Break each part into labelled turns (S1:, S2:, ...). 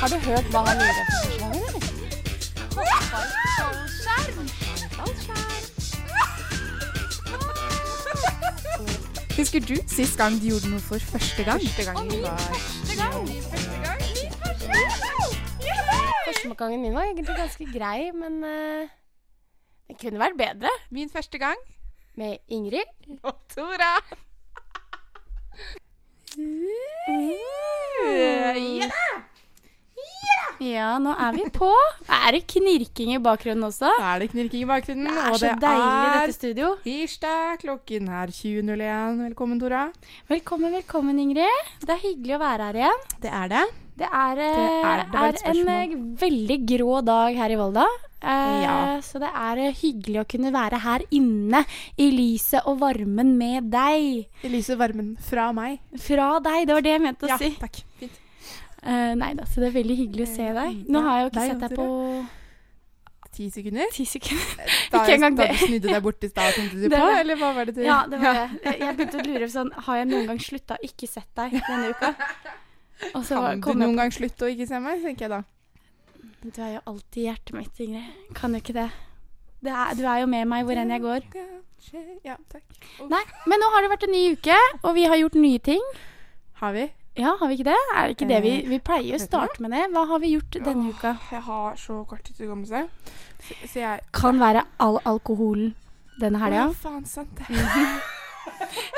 S1: Har du hørt hva han gjorde for forslaget, eller? Husker du sist gang du gjorde noe for første gang? Første gangen var Første gangen min var egentlig ganske grei, men eh, det kunne vært bedre.
S2: Min første gang.
S1: Med Ingrid.
S2: Og Tora.
S3: Ja, nå er vi på. Er det knirking i bakgrunnen også?
S2: Da er det knirking i bakgrunnen,
S3: Det er
S2: og
S3: så
S2: det
S3: deilig i
S2: er
S3: dette studio.
S2: tirsdag. Klokken er 20.01. Velkommen, Tora.
S3: Velkommen, velkommen, Ingrid. Det er hyggelig å være her igjen.
S2: Det er det.
S3: Det er, eh,
S2: Det er det, det var et
S3: er en eh, veldig grå dag her i Volda. Eh,
S2: Ja.
S3: Så det er eh, hyggelig å kunne være her inne i lyset og varmen med deg.
S2: I lyset varmen fra meg.
S3: Fra deg, det var det jeg mente å
S2: ja,
S3: si.
S2: takk. Fint.
S3: Eh, nei da, så det er veldig hyggelig å se deg.
S2: Ja,
S3: Nå har jeg jo ikke
S2: deg
S3: sett
S2: også,
S3: deg på
S2: Ti sekunder.
S3: ti sekunder.
S2: Da,
S3: Ikke engang
S2: da
S3: det.
S2: du snudde deg bort i stad, tenkte du
S3: Det
S2: på,
S3: var-
S2: eller hva var det du
S3: Ja, det var det. Jeg- Jeg begynte å lure på sånn Har jeg noen gang slutta å ikke sett deg denne uka? Og så var-
S2: Kan du
S3: kom jeg
S2: noen gang slutte å ikke se meg, tenker jeg da.
S3: på Du er jo alltid i hjertet mitt, Ingrid. Kan jo ikke det. det er, du er jo med meg hvor enn jeg går.
S2: Kanskje- Ja, takk.
S3: Nei, men nå har det vært en ny uke, og vi har gjort nye ting.
S2: Har vi?
S3: Ja, har vi ikke det? Er det ikke det vi Vi pleier jo å starte med det. Eh, Hva har vi gjort denne uka?
S2: Jeg har så kort tid til å komme seg. Så, så jeg
S3: Kan være all alkoholen denne helga.
S2: Å, faen sant det.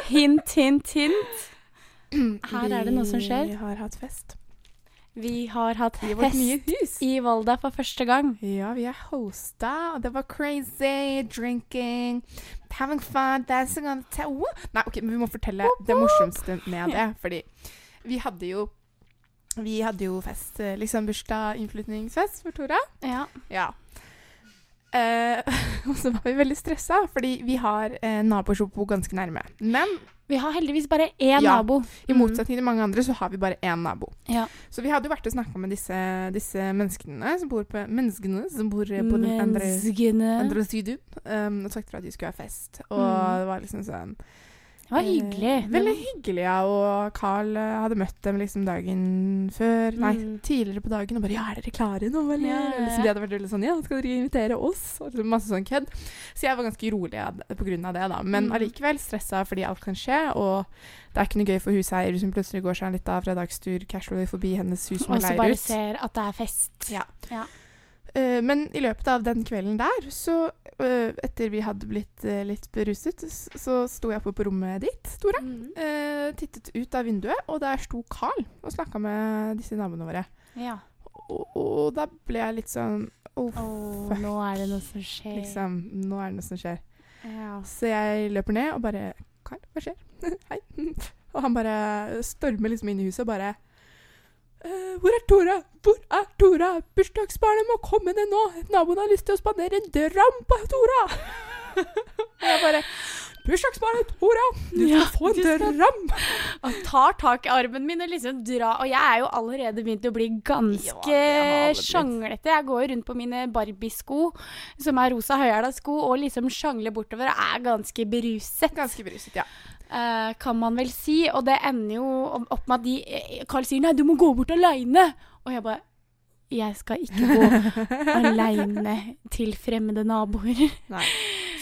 S3: Hint, hint, hint. Her er det noe som skjer.
S2: Vi har hatt fest.
S3: Vi har hatt
S2: I vårt nye
S3: fest
S2: hus.
S3: i Volda for første gang.
S2: Ja, vi er hosta, og det var crazy. Drinking, having fun, dancing on the tower. Nei, OK, men vi må fortelle det morsomste med det. Fordi vi hadde jo Vi hadde jo fest. eh, Liksom bursdag, innflytningsfest for Tora.
S3: Ja.
S2: Ja. Eh, og så var vi veldig stressa, fordi vi har uh, nabosjoppo ganske nærme. Men
S3: Vi har heldigvis bare én
S2: Ja.
S3: nabo.
S2: I motsetning til mange andre så har vi bare én nabo.
S3: Ja.
S2: Så vi hadde jo vært og snakka med disse, disse menneskene som bor på, menneskene som bor eh, på den andre,
S3: Menneskene.
S2: andre siden, um, og sagt fra at de skulle ha fest. Og
S3: Mm.
S2: det var liksom sånn
S3: Det var
S2: eh,
S3: hyggelig.
S2: veldig hyggelig, ja. Og Carl eh, hadde møtt dem liksom dagen før Nei,
S3: Mm.
S2: tidligere på dagen og bare 'Ja, er dere klare nå, eller?'
S3: Ja, ja, ja.
S2: Liksom, de hadde vært veldig sånn 'Ja, skal dere invitere oss?' Og liksom masse sånn kødd. Så jeg var ganske rolig av det- på grunn av det, da. Men
S3: Mm.
S2: allikevel stressa fordi alt kan skje, og det er ikke noe gøy for huseier som plutselig går seg en liten fredagstur casually forbi hennes hus som
S3: Og
S2: hun
S3: så
S2: leier
S3: bare
S2: ut.
S3: ser at det er fest.
S2: Ja.
S3: Ja.
S2: Eh, men i løpet av den kvelden der, så eh, etter vi hadde blitt eh, litt beruset, s- så sto jeg oppe på rommet ditt, Tora.
S3: Mm.
S2: Eh, tittet ut av vinduet, og der sto Carl og snakka med disse naboene våre.
S3: ja.
S2: Og, og da ble jeg litt sånn oh,
S3: Å, nå er det noe som skjer.
S2: liksom, Nå er det noe som skjer.
S3: Ja.
S2: Så jeg løper ned og bare Carl, hva skjer? Hei. Og han bare stormer liksom inn i huset og bare «Eh, hvor er Tora? Hvor er Tora? Bursdagsbarnet må komme ned nå! Naboen har lyst til å spandere en dram på Tora! Og jeg bare Bursdagsbarnet Tora! Du skal
S3: Ja,
S2: få
S3: du
S2: en
S3: skal-
S2: dram!
S3: Og tar tak i armen min og liksom drar. Og jeg er jo allerede begynt å bli
S2: Ja,
S3: ganske
S2: det har alle blitt.
S3: sjanglete. Jeg går jo rundt på mine Barbie-sko, som er rosa høyhæla sko, og liksom sjangler bortover og er ganske beruset.
S2: Ganske beruset, ja.
S3: Eh, kan man vel si. Og det ender jo opp med at de eh, Carl sier 'nei, du må gå bort aleine'. Og jeg bare 'jeg skal ikke gå aleine til fremmede naboer'.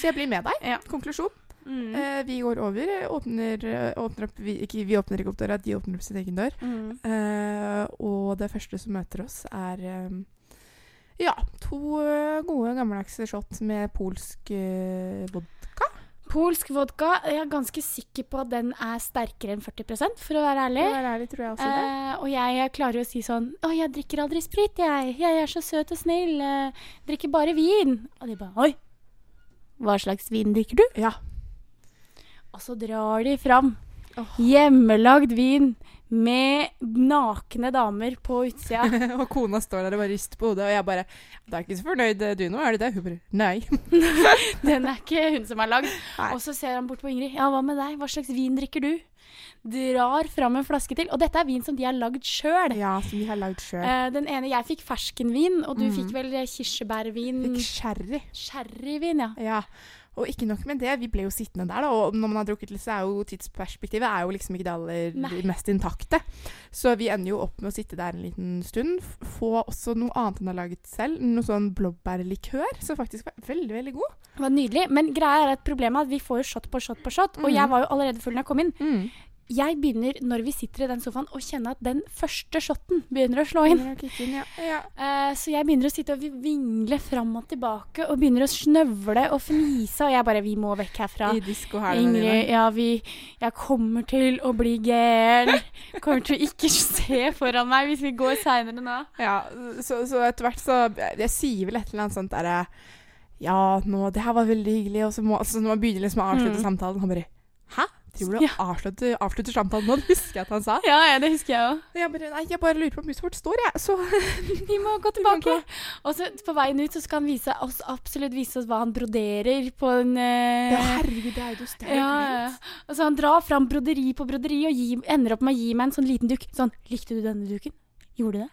S2: Så jeg blir med deg.
S3: Ja.
S2: Konklusjon.
S3: Mm.
S2: Eh, vi går over, eh, åpner, eh, åpner opp vi, ikke, vi åpner ikke opp døra, de åpner opp sin egen dør.
S3: Mm.
S2: Eh, og det første som møter oss, er eh, ja, to eh, gode gammeldagse shot med polsk eh, vodka.
S3: Polsk vodka, jeg er ganske sikker på at den er sterkere enn 40 for å være ærlig.
S2: Det var ærlig, tror jeg også det.
S3: Eh, og jeg klarer jo å si sånn 'Å, jeg drikker aldri sprit, jeg. Jeg er så søt og snill. eh, drikker bare vin.' Og de bare 'Oi, hva slags vin drikker du?'
S2: Ja.
S3: Og så drar de fram
S2: Åh.
S3: hjemmelagd vin med nakne damer på utsida.
S2: og kona står der og bare rister på hodet, og jeg bare 'Du er ikke så fornøyd, eh, du nå, er du det?' Hun bare 'Nei'.
S3: Den er ikke hun som har lagd.
S2: Nei.
S3: Og så ser han bort på Ingrid. 'Ja, hva med deg? Hva slags vin drikker du?' Drar fram en flaske til. Og dette er vin som de har lagd sjøl.
S2: Ja, som vi har lagd sjøl.
S3: Eh, den ene, jeg fikk ferskenvin, og du
S2: Mhm.
S3: fikk vel eh, kirsebærvin.
S2: Fikk sherry.
S3: Sherryvin, ja.
S2: Ja. Og ikke nok med det, vi ble jo sittende der, da. Og når man har drukket litt, så er jo tidsperspektivet er jo liksom ikke det aller
S3: Nei.
S2: mest intakte. Så vi ender jo opp med å sitte der en liten stund. f- Få også noe annet enn jeg har laget selv. Noe sånn blåbærlikør, som faktisk var veldig, veldig god.
S3: Det var nydelig. Men greia er at problemet er at vi får jo shot på shot på shot. Og
S2: Mhm.
S3: jeg var jo allerede full når jeg kom inn. Jeg begynner, når vi sitter i den sofaen, å kjenne at den første shoten begynner å slå inn.
S2: Begynner å kicke inn, ja. Ja.
S3: Eh, så jeg begynner å sitte og vingle fram og tilbake og begynner å snøvle og fnise. Og jeg bare Vi må vekk herfra.
S2: I disko her.
S3: Ingrid, ja, vi Jeg kommer til å bli gæren. Kommer til å ikke se foran meg hvis vi går seinere nå.
S2: Ja, så, så etter hvert så Jeg sier vel et eller annet sånt derre Ja, nå, det her var veldig hyggelig. Og så må, altså, når man begynner liksom å avslutte
S3: Mm.
S2: samtalen, han bare Hæ? Tror du
S3: Ja.
S2: avslutter, avslutter samtalen nå? Det husker jeg at han sa.
S3: Ja, ja, det husker jeg òg.
S2: Og Jeg bare, nei, jeg bare lurer på om huset vårt står, jeg. Så
S3: Vi må gå
S2: må
S3: tilbake. Og så på veien ut så skal han vise oss, absolutt vise oss hva han broderer på en eh,
S2: ja, herregud, det er jo
S3: ja,
S2: større.
S3: ja. Og så han drar fram broderi på broderi og gi, ender opp med å gi meg en sånn liten dukk. Sånn Likte du denne duken? Gjorde du det?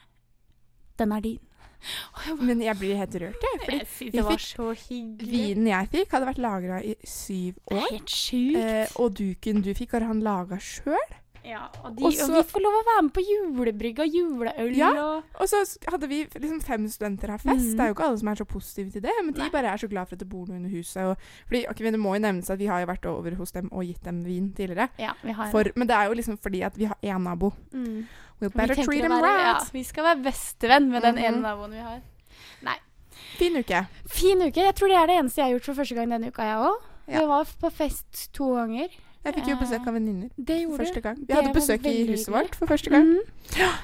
S3: Den er din.
S2: Men jeg blir helt rørt, jeg. Fordi
S3: Jeg synes
S2: vi
S3: Eh, det
S2: fikk
S3: var så hyggelig.
S2: vinen jeg fikk, hadde vært lagra i syv
S3: Det er
S2: år.
S3: helt sjukt.
S2: Eh, og duken du fikk, har han laga sjøl.
S3: Ja, og, de,
S2: Og så-
S3: og vi får lov å være med på julebrygga, juleøl
S2: Ja.
S3: og
S2: Og så hadde vi liksom fem studenter her fest.
S3: Mm.
S2: Det er jo ikke alle som er så positive til det, men de
S3: Nei.
S2: bare er så glad for at det bor noe under huset. Og, fordi, ok, men det må jo nevnes at vi har jo vært over hos dem og gitt dem vin tidligere.
S3: Ja, vi har
S2: For, men det er jo liksom fordi at vi har én nabo.
S3: mm.
S2: We'll
S3: Vi
S2: better
S3: tenker
S2: treat
S3: å
S2: them
S3: være- ja,
S2: right.
S3: Vi skal være bestevenn med den ene
S2: Mhm.
S3: naboen vi har.
S2: Fin uke.
S3: Fin uke. Jeg tror det er det eneste jeg har gjort for første gang denne uka, jeg òg.
S2: Ja.
S3: Jeg var på fest to ganger.
S2: Jeg fikk jo besøk av venninner
S3: Det
S2: for
S3: gjorde du.
S2: første gang. Vi
S3: Det
S2: hadde
S3: var
S2: besøk i
S3: veldig
S2: huset
S3: hyggelig.
S2: vårt for første gang.
S3: Mhm.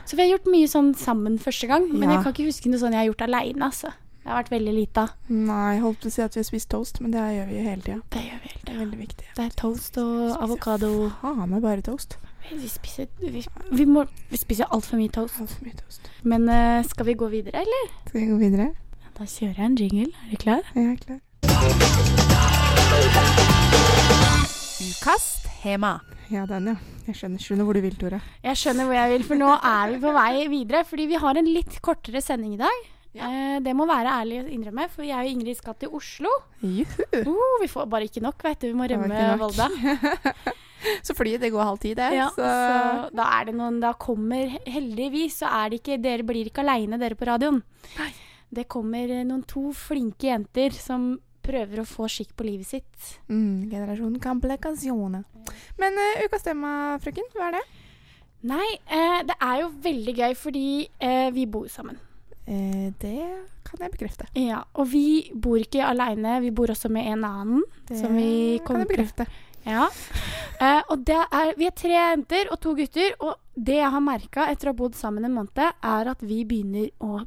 S3: Så vi har gjort mye sånn sammen første gang, men
S2: Ja.
S3: jeg kan ikke huske noe sånn jeg har gjort aleine, altså. Det har vært veldig lite av.
S2: Nei, jeg holdt på å si at vi har spist toast, men det gjør vi jo hele tida.
S3: Det gjør vi hele
S2: Det er veldig viktig.
S3: Det er toast og avokado.
S2: Faen meg bare toast.
S3: Vi spiser, vi, vi må, vi spiser altfor mye toast.
S2: Altfor mye toast.
S3: Men eh, skal vi gå videre, eller?
S2: Skal vi gå videre?
S3: Da kjører jeg en jingle. Er du klar?
S2: Jeg er klar.
S1: Ukast Hema.
S2: Ja, den, ja. Jeg skjønner, skjønner hvor du vil, Tora.
S3: Jeg skjønner hvor jeg vil, for nå er vi på vei videre. Fordi vi har en litt kortere sending i dag. Eh, det må være ærlig å innrømme, for jeg og Ingrid skal til Oslo.
S2: Juhu!
S3: Oh, vi får bare ikke nok, vet du. Vi må
S2: Det var
S3: rømme
S2: ikke nok.
S3: Volda.
S2: Så flyet det går halv ti, det.
S3: Ja,
S2: så,
S3: så da er det noen Da kommer heldigvis, så er det ikke Dere blir ikke aleine, dere på radioen.
S2: Nei.
S3: Det kommer eh, noen to flinke jenter som prøver å få skikk på livet sitt.
S2: mm, Generasjon complicatione. Men eh, ukas tema, frøken, hva er det?
S3: Nei, eh, det er jo veldig gøy fordi eh, vi bor sammen.
S2: Eh, det kan jeg bekrefte.
S3: Ja, og vi bor ikke aleine, vi bor også med en annen.
S2: Det
S3: Som vi
S2: kan
S3: kommer
S2: jeg bekrefte.
S3: Ja. Eh, og det er, vi er tre jenter og to gutter, og det jeg har merka etter å ha bodd sammen en måned, er at vi begynner å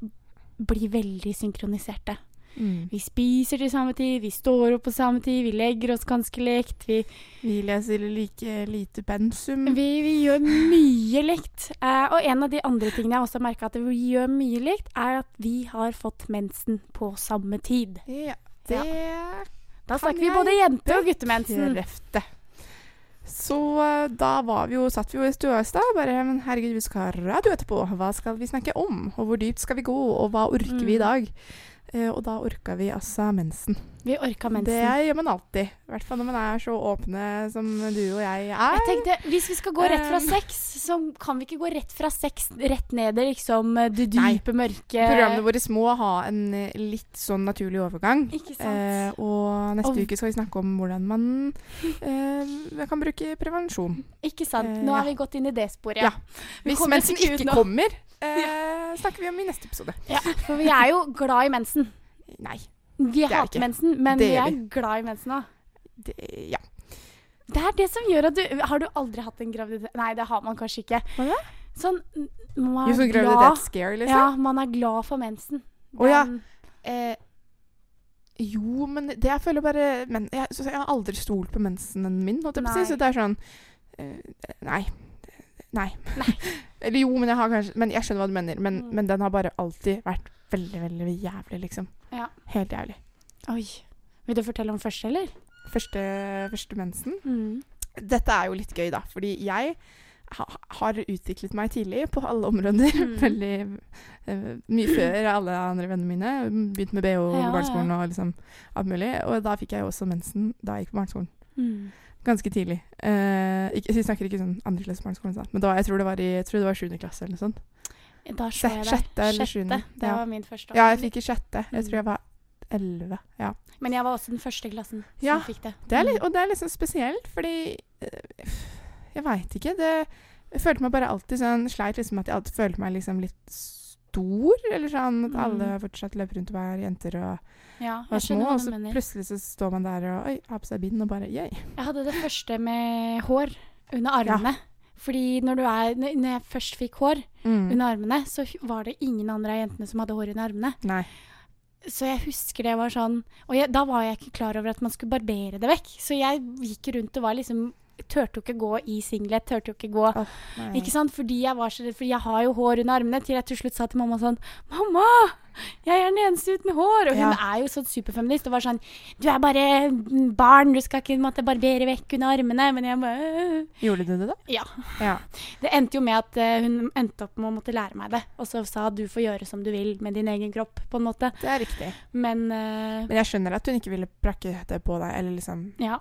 S3: bli veldig synkroniserte.
S2: Mm.
S3: Vi spiser til samme tid, vi står opp på samme tid, vi legger oss ganske likt. Vi,
S2: Vi leser like lite pensum.
S3: vi, vi gjør mye likt. Eh, og en av de andre tingene jeg også har merka at vi gjør mye likt, er at vi har fått mensen på samme tid.
S2: Ja, det
S3: Da
S2: Kan
S3: snakker vi
S2: jeg
S3: både jente- og guttemensen.
S2: bekrefte. Så eh, da var vi jo, satt vi jo i stua i stad. Bare men herregud, vi skal ha radio etterpå. Hva skal vi snakke om? Og hvor dypt skal vi gå? Og hva orker vi
S3: Mm.
S2: i dag? Eh, og da orka vi altså mensen.
S3: Vi orka mensen.
S2: Det gjør man alltid. I hvert fall når man er så åpne som du og jeg er.
S3: Jeg tenkte, Hvis vi skal gå rett fra
S2: Um.
S3: sex, så kan vi ikke gå rett fra sex rett ned i liksom, det
S2: Nei.
S3: dype mørke
S2: Programmene våre må ha en eh, litt sånn naturlig overgang.
S3: Ikke
S2: Eh,
S3: sant?
S2: og neste
S3: Og-
S2: uke skal vi snakke om hvordan man eh, kan bruke prevensjon.
S3: ikke sant?
S2: eh,
S3: Nå
S2: ja.
S3: har vi gått inn i det sporet.
S2: Ja.
S3: Vi
S2: Hvis
S3: kommer
S2: mensen
S3: ikke ut
S2: ikke
S3: nå.
S2: kommer, eh, snakker vi om i neste episode.
S3: For vi er jo glad i mensen.
S2: Nei.
S3: Vi
S2: er vi ikke.
S3: hater mensen, men
S2: Det
S3: vi
S2: gjør
S3: er glad i mensen òg.
S2: Det, ja.
S3: Det er det som gjør at du Har du aldri hatt en graviditet Nei, det har man kanskje ikke.
S2: Hva da?
S3: Sånn n- man
S2: Jo,
S3: er
S2: så
S3: glad,
S2: graviditet scare,
S3: ja,
S2: sånn liksom.
S3: man er glad for mensen.
S2: Å Ah, ja.
S3: Den-
S2: Eh, jo, men det jeg føler bare men, jeg, så jeg har aldri stolt på mensen min, holdt jeg på å si.
S3: Nei.
S2: Så det er sånn eh, Nei. Nei. Eller jo, men jeg har kanskje Men jeg skjønner hva du mener. Men,
S3: Mm.
S2: men den har bare alltid vært veldig, veldig jævlig, liksom.
S3: Ja.
S2: Helt jævlig.
S3: Oi. Vil du fortelle om første, eller?
S2: Første, første mensen.
S3: Mm.
S2: Dette er jo litt gøy, da. Fordi jeg ha- har utviklet meg tidlig på alle områder.
S3: Mm.
S2: Veldig eh, mye før alle andre vennene mine. Begynte med
S3: Ja,
S2: BH
S3: ja.
S2: på barneskolen og liksom alt mulig. Og da fikk jeg jo også mensen da jeg gikk på barneskolen.
S3: Mm.
S2: Ganske tidlig. Eh, ikke, vi snakker ikke sånn andre klasse barneskolen, sånn. men da, jeg tror det var i jeg tror det var sjuende klasse eller noe sånt.
S3: Da så jeg deg.
S2: Sjette eller sjuende.
S3: Det
S2: Ja.
S3: var min første.
S2: Ja, jeg fikk i sjette. Jeg tror jeg var elleve. Ja.
S3: Men jeg var også den første klassen
S2: Ja,
S3: som fikk det.
S2: Det er litt, og det er liksom spesielt, fordi eh, Jeg veit ikke. Det, jeg følte meg bare alltid sånn Sleit liksom at jeg alltid følte meg liksom litt stor. Eller sånn at alle
S3: Mm.
S2: fortsatt løp rundt og var jenter og
S3: Ja,
S2: var
S3: jeg skjønner
S2: små. altså
S3: hva
S2: Og
S3: du
S2: så
S3: mener.
S2: plutselig så står man der og oi, har på seg bind og bare yay.
S3: Jeg hadde det første med hår under armene. Fordi når, du er, når når jeg først fikk hår
S2: Mm.
S3: under armene, så var det ingen andre av jentene som hadde hår under armene.
S2: Nei.
S3: Så jeg husker det var sånn Og jeg, da var jeg ikke klar over at man skulle barbere det vekk. Så jeg gikk rundt og var liksom Turte jo ikke gå i singlet. Turte jo ikke gå
S2: Nei.
S3: Ikke sant? Fordi jeg var så redd, fordi jeg har jo hår under armene, til jeg til slutt sa til mamma sånn Mamma! Jeg er den eneste uten hår! Og hun
S2: Ja.
S3: er jo sånn superfeminist og var sånn Du er bare barn, du skal ikke måtte barbere vekk under armene. Men jeg bare «Øh».
S2: Gjorde du det, da?
S3: Ja.
S2: Ja.
S3: Det endte jo med at eh, hun endte opp med å måtte lære meg det. Og så sa du får gjøre som du vil med din egen kropp, på en måte.
S2: Det er riktig.
S3: Men eh,
S2: Men jeg skjønner at hun ikke ville brakke det på deg. Eller liksom
S3: ja.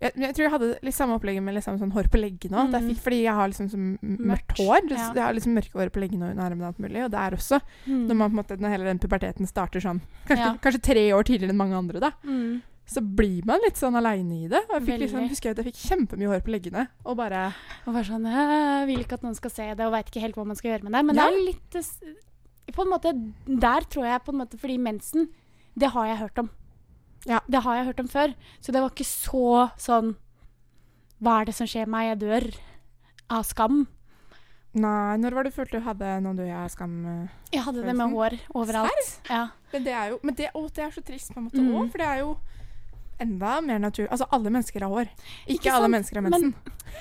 S2: jeg, men jeg tror jeg hadde litt samme opplegget med liksom sånn hår på leggene òg.
S3: Mhm.
S2: Fordi jeg har liksom så m- mørkt
S3: Mørkt,
S2: hår. så
S3: ja.
S2: Jeg har liksom mørke hår på leggene og under armene og alt mulig. Og der også.
S3: Mm.
S2: Når man på en måte, når hele den puberteten starter sånn kanskje,
S3: Ja.
S2: kanskje tre år tidligere enn mange andre, da.
S3: Mm.
S2: Så blir man litt sånn aleine i det. Og jeg fikk
S3: Veldig.
S2: liksom, husker jeg at jeg fikk kjempemye hår på leggene. Og bare
S3: Og bare sånn «Øh, Vil ikke at noen skal se det, og veit ikke helt hva man skal gjøre med det. Men det
S2: Ja.
S3: er litt eh, s- På en måte Der tror jeg på en måte Fordi mensen, det har jeg hørt om.
S2: Ja.
S3: Det har jeg hørt om før. Så det var ikke så sånn Hva er det som skjer med meg? Jeg dør. Av skam.
S2: Nei, når var det du følte du hadde noe du jeg skam eh?
S3: Jeg hadde det med
S2: Følelsen?
S3: hår overalt. Ja.
S2: Men det er jo men det, å, det er så trist på en måte
S3: Mhm.
S2: òg, for det er jo enda mer natur... Altså, alle mensen har hår. Ikke,
S3: Ikke
S2: alle
S3: sant?
S2: mennesker har
S3: Men-
S2: mensen.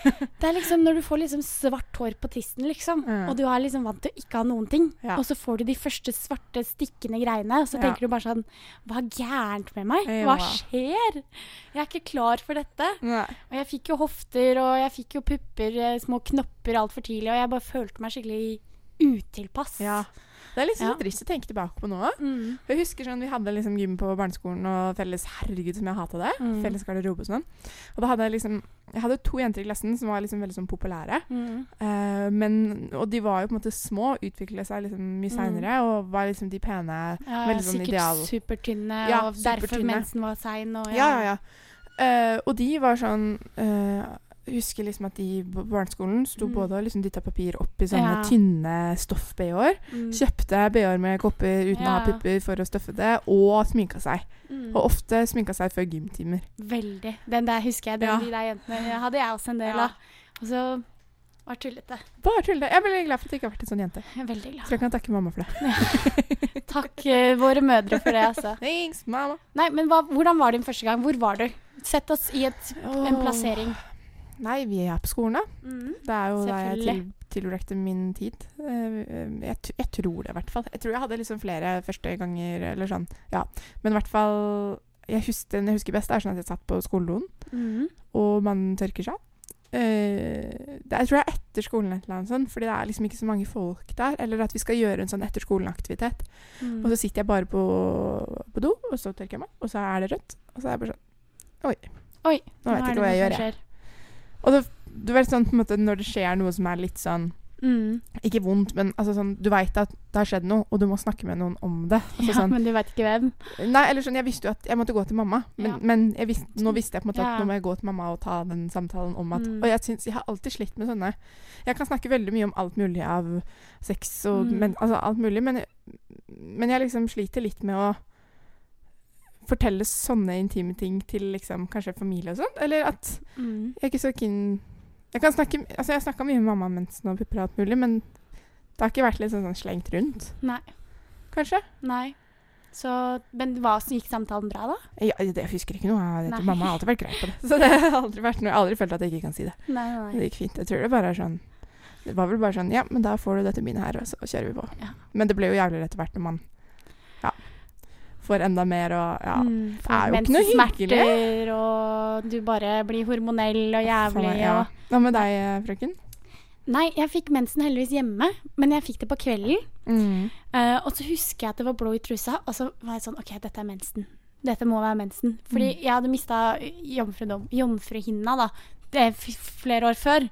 S3: Det er liksom når du får liksom svart hår på tissen, liksom,
S2: Ja.
S3: og du er liksom vant til å ikke ha noen ting,
S2: Ja.
S3: og så får du de første svarte, stikkende greiene, og så
S2: Ja.
S3: tenker du bare sånn Hva er gærent med meg?
S2: Ja.
S3: Hva skjer? Jeg er ikke klar for dette.
S2: Nei.
S3: Og jeg fikk jo hofter, og jeg fikk jo pupper, eh, små knopper altfor tidlig, og jeg bare følte meg skikkelig utilpass.
S2: Ja. Det er litt
S3: Ja.
S2: sånn trist å tenke tilbake på nå.
S3: Mm.
S2: Jeg husker sånn, Vi hadde liksom gym på barneskolen og felles Herregud, som jeg hata det.
S3: Mm.
S2: Felles garderobe og sånn. Og da hadde jeg liksom Jeg hadde to jenter i klassen som var liksom veldig sånn populære.
S3: Mm.
S2: Eh, men, og de var jo på en måte små, utvikla seg liksom mye
S3: Mm.
S2: seinere og var liksom de pene
S3: Ja,
S2: Veldig sånn
S3: sikkert
S2: ideal.
S3: supertynne,
S2: Ja,
S3: og derfor
S2: supertynne.
S3: mensen var sein. Og,
S2: Ja, ja, ja. Eh, og de var sånn eh, jeg husker liksom at de på barneskolen sto
S3: Mm.
S2: både og liksom dytta papir opp i
S3: Ja.
S2: sånne tynne stoff-BH-er.
S3: Mm.
S2: Kjøpte BH-er med kopper uten å ha
S3: Ja.
S2: pupper for å støffe det, og sminka seg.
S3: Mm.
S2: Og ofte sminka seg før gymtimer.
S3: Veldig. Den der husker jeg. Den,
S2: Ja.
S3: De der jentene hadde jeg også en del
S2: Ja.
S3: av. Og så var tullete.
S2: Bare tull det. Jeg er veldig glad for at jeg ikke har vært en sånn jente.
S3: Jeg er Veldig glad.
S2: Tror jeg kan takke mamma for det.
S3: Takk eh, våre mødre for det, altså.
S2: Thanks, mamma.
S3: Nei, men hva, hvordan var din første gang? Hvor var du? Sett oss i et, en plassering.
S2: Nei, vi er på skolen, da.
S3: Mm.
S2: Det er jo der jeg til,
S3: Selvfølgelig.
S2: tilbrakte min tid. Eh, Jeg, t- jeg tror det, i hvert fall. Jeg tror jeg hadde liksom flere første ganger, eller sånn. Ja. Men i hvert fall jeg husker, Den jeg husker best, er sånn at jeg satt på skoledoen,
S3: Mm.
S2: og man tørker seg. Eh, det, jeg tror det er etter skolen, et eller annet sånn, fordi det er liksom ikke så mange folk der. Eller at vi skal gjøre en sånn etter skolen-aktivitet.
S3: Mm.
S2: Og så sitter jeg bare på, på do, og så tørker jeg meg, og så er det rødt. Og så er jeg bare sånn Oi.
S3: Oi,
S2: Nå vet
S3: er
S2: jeg
S3: det
S2: ikke hva jeg
S3: som
S2: gjør, jeg.
S3: skjer.
S2: Og det, du vet sånn på en måte når det skjer noe som er litt sånn
S3: Mm.
S2: Ikke vondt, men altså sånn Du veit at det har skjedd noe, og du må snakke med noen om det. Altså,
S3: Ja,
S2: sånn,
S3: Men du veit ikke hvem.
S2: nei, eller sånn Jeg visste jo at jeg måtte gå til mamma, men,
S3: Ja.
S2: men jeg visste, nå visste jeg på en måte
S3: Ja.
S2: at nå må jeg gå til mamma og ta den samtalen om at
S3: Mm.
S2: Og jeg syns Jeg har alltid slitt med sånne Jeg kan snakke veldig mye om alt mulig av sex og
S3: Mm.
S2: men, Altså alt mulig, men, men jeg liksom sliter litt med å fortelle sånne intime ting til liksom kanskje familie og sånt. Eller at
S3: Mm.
S2: jeg er ikke så keen Jeg kan snakke Altså, jeg snakka mye med mamma mens og pupper og alt mulig, men det har ikke vært litt sånn, sånn slengt rundt,
S3: Nei.
S2: kanskje.
S3: Nei. Så, men hva, så gikk samtalen bra, da?
S2: Ja, det, jeg husker ikke noe av
S3: Nei.
S2: dette. Mamma har alltid vært grei på det. Så det har aldri vært noe Jeg har aldri følt at jeg ikke kan si det.
S3: Nei, nei,
S2: Det gikk fint. Jeg tror det bare er sånn Det var vel bare sånn Ja, men da får du dette bindet her, og så kjører vi på.
S3: Ja.
S2: Men det ble jo jævligere etter hvert når man Ja. Får enda mer og Ja.
S3: Mm,
S2: Det er jo ikke noe hyggelig.
S3: Menssmerter, og du bare blir hormonell og jævlig.
S2: Faen, ja.
S3: Og,
S2: Hva med deg, eh, frøken?
S3: Nei, jeg fikk mensen heldigvis hjemme, men jeg fikk det på kvelden.
S2: Mm.
S3: Eh, og så husker jeg at det var blå i trusa, og så var jeg sånn OK, dette er mensen. Dette må være mensen. Fordi
S2: Mm.
S3: jeg hadde mista jomfrudom- jomfruhinna da, det er f flere år før.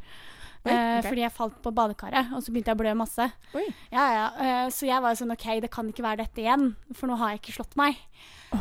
S2: Oi,
S3: Eh,
S2: ok.
S3: Fordi jeg falt på badekaret, og så begynte jeg å blø masse.
S2: Oi.
S3: Ja, ja. eh, så jeg var jo sånn OK, det kan ikke være dette igjen, for nå har jeg ikke slått meg.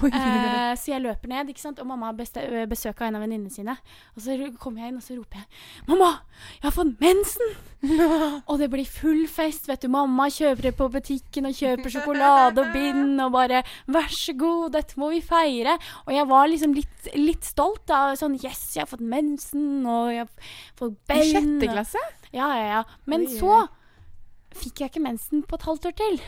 S2: Oi.
S3: Eh, så jeg løper ned, ikke sant? og mamma har beste- eh, besøk av en av venninnene sine. Og så ru- kommer jeg inn og så roper jeg 'Mamma, jeg har fått mensen!' og det blir full fest. vet du. Mamma kjøper det på butikken og kjøper sjokolade og bind og bare 'Vær så god, dette må vi feire'. Og jeg var liksom litt, litt stolt. da, sånn 'Yes, jeg har fått mensen', og 'jeg har fått
S2: I
S3: bein'.
S2: sjette
S3: og-
S2: klasse?
S3: ja, ja, ja. Men
S2: Oi, oi,
S3: så fikk jeg ikke mensen på et halvt år til.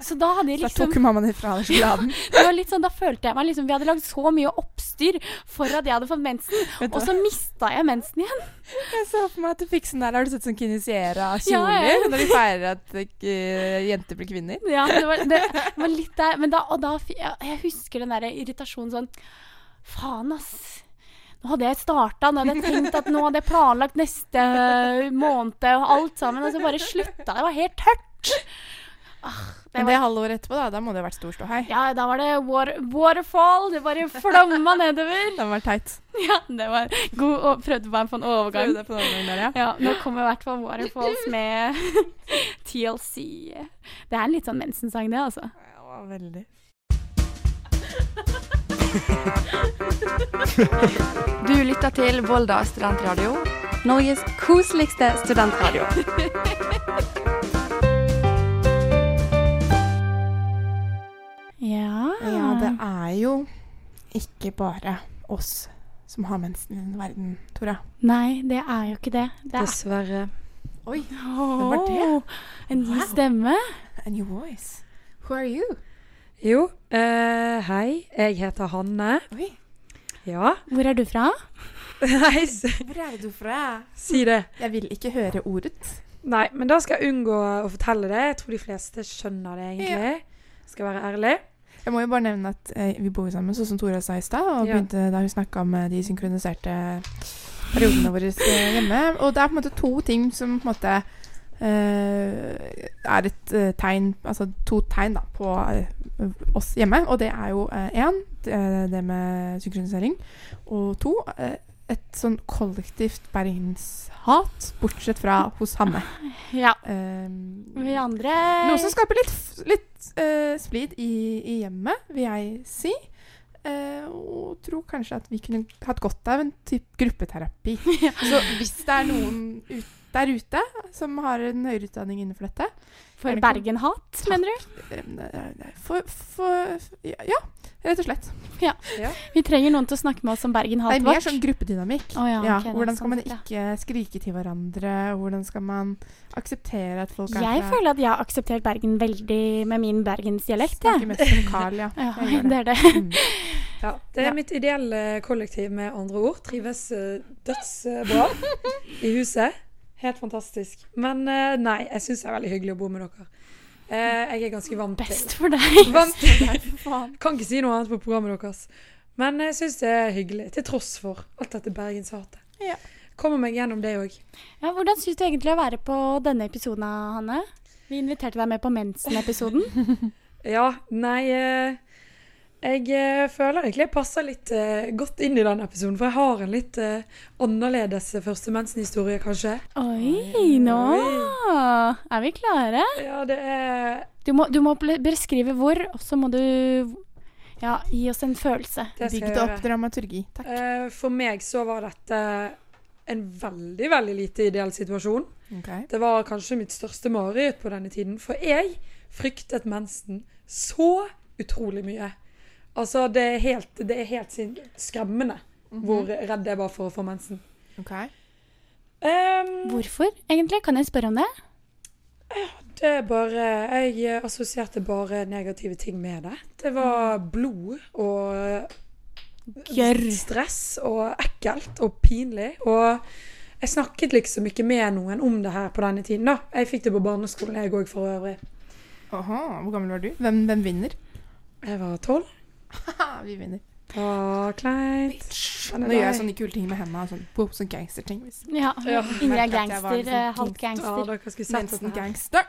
S3: Så da hadde jeg
S2: Da
S3: liksom
S2: tok mammaen ifra deg sjokoladen.
S3: det var litt sånn, Da følte jeg meg liksom Vi hadde lagd så mye oppstyr for at jeg hadde fått mensen,
S2: Vet du
S3: og
S2: hva?
S3: så mista jeg mensen igjen.
S2: Jeg så for meg at du fikk sånn der Har du sett sånn kinesiera
S3: Ja,
S2: kjoler?
S3: ja.
S2: Når de feirer at eh, jenter blir kvinner?
S3: Ja, det var, det var litt der, men da, og da fi- jeg, jeg husker den der irritasjonen sånn Faen, ass. Nå hadde jeg starta, nå hadde jeg tenkt at nå hadde jeg planlagt neste måned og alt sammen, og så bare slutta. Det var helt tørt. Ah, det
S2: Men
S3: var
S2: det halve året etterpå, da, da må det ha vært stor ståhei.
S3: Ja, da var det water, waterfall. Det bare flomma nedover.
S2: Det må ha vært teit.
S3: Ja, det var god og prøvde meg på en
S2: Prøv
S3: overgang.
S2: det på den overgangen der, ja.
S3: Ja, nå kommer i hvert fall Waterfalls med TLC. Det er en litt sånn mensensang, det, altså.
S2: Det var veldig.
S1: Du lytter til Volda studentradio, Norges koseligste studentradio.
S3: Ja.
S2: Ja, det er jo ikke bare oss som har mensen i denne verden, Tora.
S3: Nei, det er jo ikke det. Det er
S1: Dessverre.
S2: Oi,
S3: Åh,
S2: var det?
S3: En ny
S2: Wow.
S3: stemme.
S2: a new voice. Who are you?
S4: Jo, eh, hei. Jeg heter Hanne.
S2: Oi,
S4: Ja.
S3: Hvor er du fra?
S4: Nei, s-
S2: hvor er du fra?
S4: si det.
S2: Jeg vil ikke høre ordet.
S4: Nei, men da skal jeg unngå å fortelle det. Jeg tror de fleste skjønner det, egentlig. Skal være ærlig.
S2: Jeg må jo bare nevne at eh, vi bor jo sammen, sånn som Tora sa i stad. Og
S4: Ja.
S2: begynte da hun snakka om eh, de synkroniserte periodene våre eh, hjemme. Og det er på en måte to ting som på en måte eh, er et eh, tegn Altså to tegn da på eh, oss hjemme. Og det er jo én det med synkronisering. Og to eh, et sånn kollektivt bergenshat, bortsett fra hos Hanne.
S3: Ja.
S2: Eh,
S3: Vi andre
S2: noe
S3: Eh.
S2: som skaper litt, f- litt eh, splid i, i hjemmet, vil jeg si. Eh, og tror kanskje at vi kunne hatt godt av en type gruppeterapi. Så hvis det er noen ut, der ute som har en høyere utdanning innenfor dette
S3: For Bergen-hat, mener du?
S2: eh, For, for Ja, rett og slett.
S3: Vi trenger noen til å snakke med oss om
S2: Det
S3: Bergen-hat
S2: er mer
S3: vårt.
S2: sånn gruppedynamikk.
S3: Å ja,
S2: Ja,
S3: ok, det er
S2: hvordan skal
S3: sånn
S2: man
S3: sett, ja.
S2: ikke skrike til hverandre? Hvordan skal man akseptere at folk
S3: Jeg føler at jeg har akseptert Bergen veldig med min bergensdialekt, jeg.
S2: Snakker mest som Carl, ja.
S3: Ja,
S2: Jeg gjør
S3: det
S2: det.
S3: er det.
S2: Mm.
S4: Ja, det er mitt ideelle kollektiv, med andre ord. Trives eh, dødsbra i huset. Helt fantastisk. Men eh, nei, jeg syns det er veldig hyggelig å bo med dere. Eh, jeg er ganske vant til
S3: Best for deg.
S4: Vant
S2: faen.
S4: Kan ikke si noe annet på programmet deres. Men jeg syns det er hyggelig, til tross for alt dette bergenshatet.
S2: Ja.
S4: Kommer meg gjennom det òg.
S3: Ja, hvordan syns du egentlig å være på denne episoden, Hanne? Vi inviterte deg med på mensen-episoden.
S4: Ja, nei eh, Jeg eh, føler egentlig jeg passer litt eh, godt inn i den episoden, for jeg har en litt eh, annerledes første mensenhistorie, kanskje.
S3: Oi, nå er vi klare.
S4: Ja, det er
S3: Du må, du må ble- beskrive hvor, og så må du ja, gi oss en følelse.
S4: Det skal jeg
S2: Bygd opp
S4: gjøre.
S2: dramaturgi. Takk.
S4: Eh, For meg så var dette en veldig, veldig lite ideell situasjon.
S2: Ok.
S4: Det var kanskje mitt største mareritt på denne tiden, for jeg fryktet mensen så utrolig mye. Altså, det er helt, det er helt sin- skremmende hvor redd jeg var for å få mensen.
S2: ok.
S4: Ehm,
S3: Hvorfor egentlig? Kan jeg spørre om det?
S4: det er bare Jeg assosierte bare negative ting med det. Det var blod og
S3: Gørr.
S4: stress og ekkelt og pinlig. Og jeg snakket liksom ikke med noen om det her på denne tiden, da. Jeg fikk det på barneskolen, jeg òg, for øvrig.
S2: Aha, hvor gammel var du? Hvem, hvem vinner?
S4: Jeg var tolv.
S2: Haha, vi vinner.
S4: Å, kleint. Den er
S2: Nå gjør jeg
S4: deg.
S2: sånne kule ting med hendene. og Sånn, wow, sånn gangsterting. hvis-
S3: Ja.
S4: Ja.
S3: Ingrid er
S2: Merker at jeg var
S3: gangster.
S2: liksom
S3: eh, Halvt
S4: Ja,
S3: gangster.
S4: dere skulle sett
S2: Mensen
S4: dette her.
S2: gangster.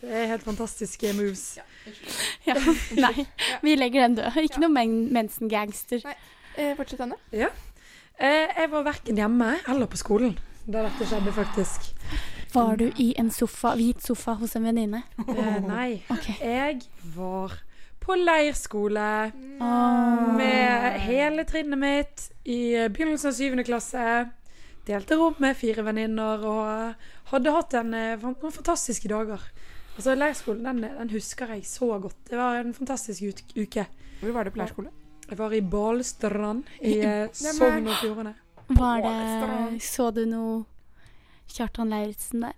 S4: Det er helt fantastiske moves.
S3: Ja. Nei, vi legger den død. Ikke noe men mensen-gangster.
S2: Eh, fortsett, Anne.
S4: Eh, jeg var verken hjemme eller på skolen da dette skjedde, faktisk.
S3: Var du i en sofa, hvit sofa hos en venninne?
S4: Eh, nei.
S3: Ok.
S4: Jeg var på leirskole
S3: Ah.
S4: med hele trinnet mitt i begynnelsen av 7. klasse. Delte rom med fire venninner og hadde hatt en, eh, fan- noen fantastiske dager. Altså, Leirskolen den, den husker jeg så godt. Det var en fantastisk ut- uke.
S2: Hvor var du på leirskole?
S4: Jeg var i Balestrand i eh, Sogn og Fjordane.
S3: Var det Så du noe Kjartan Lauritzen der?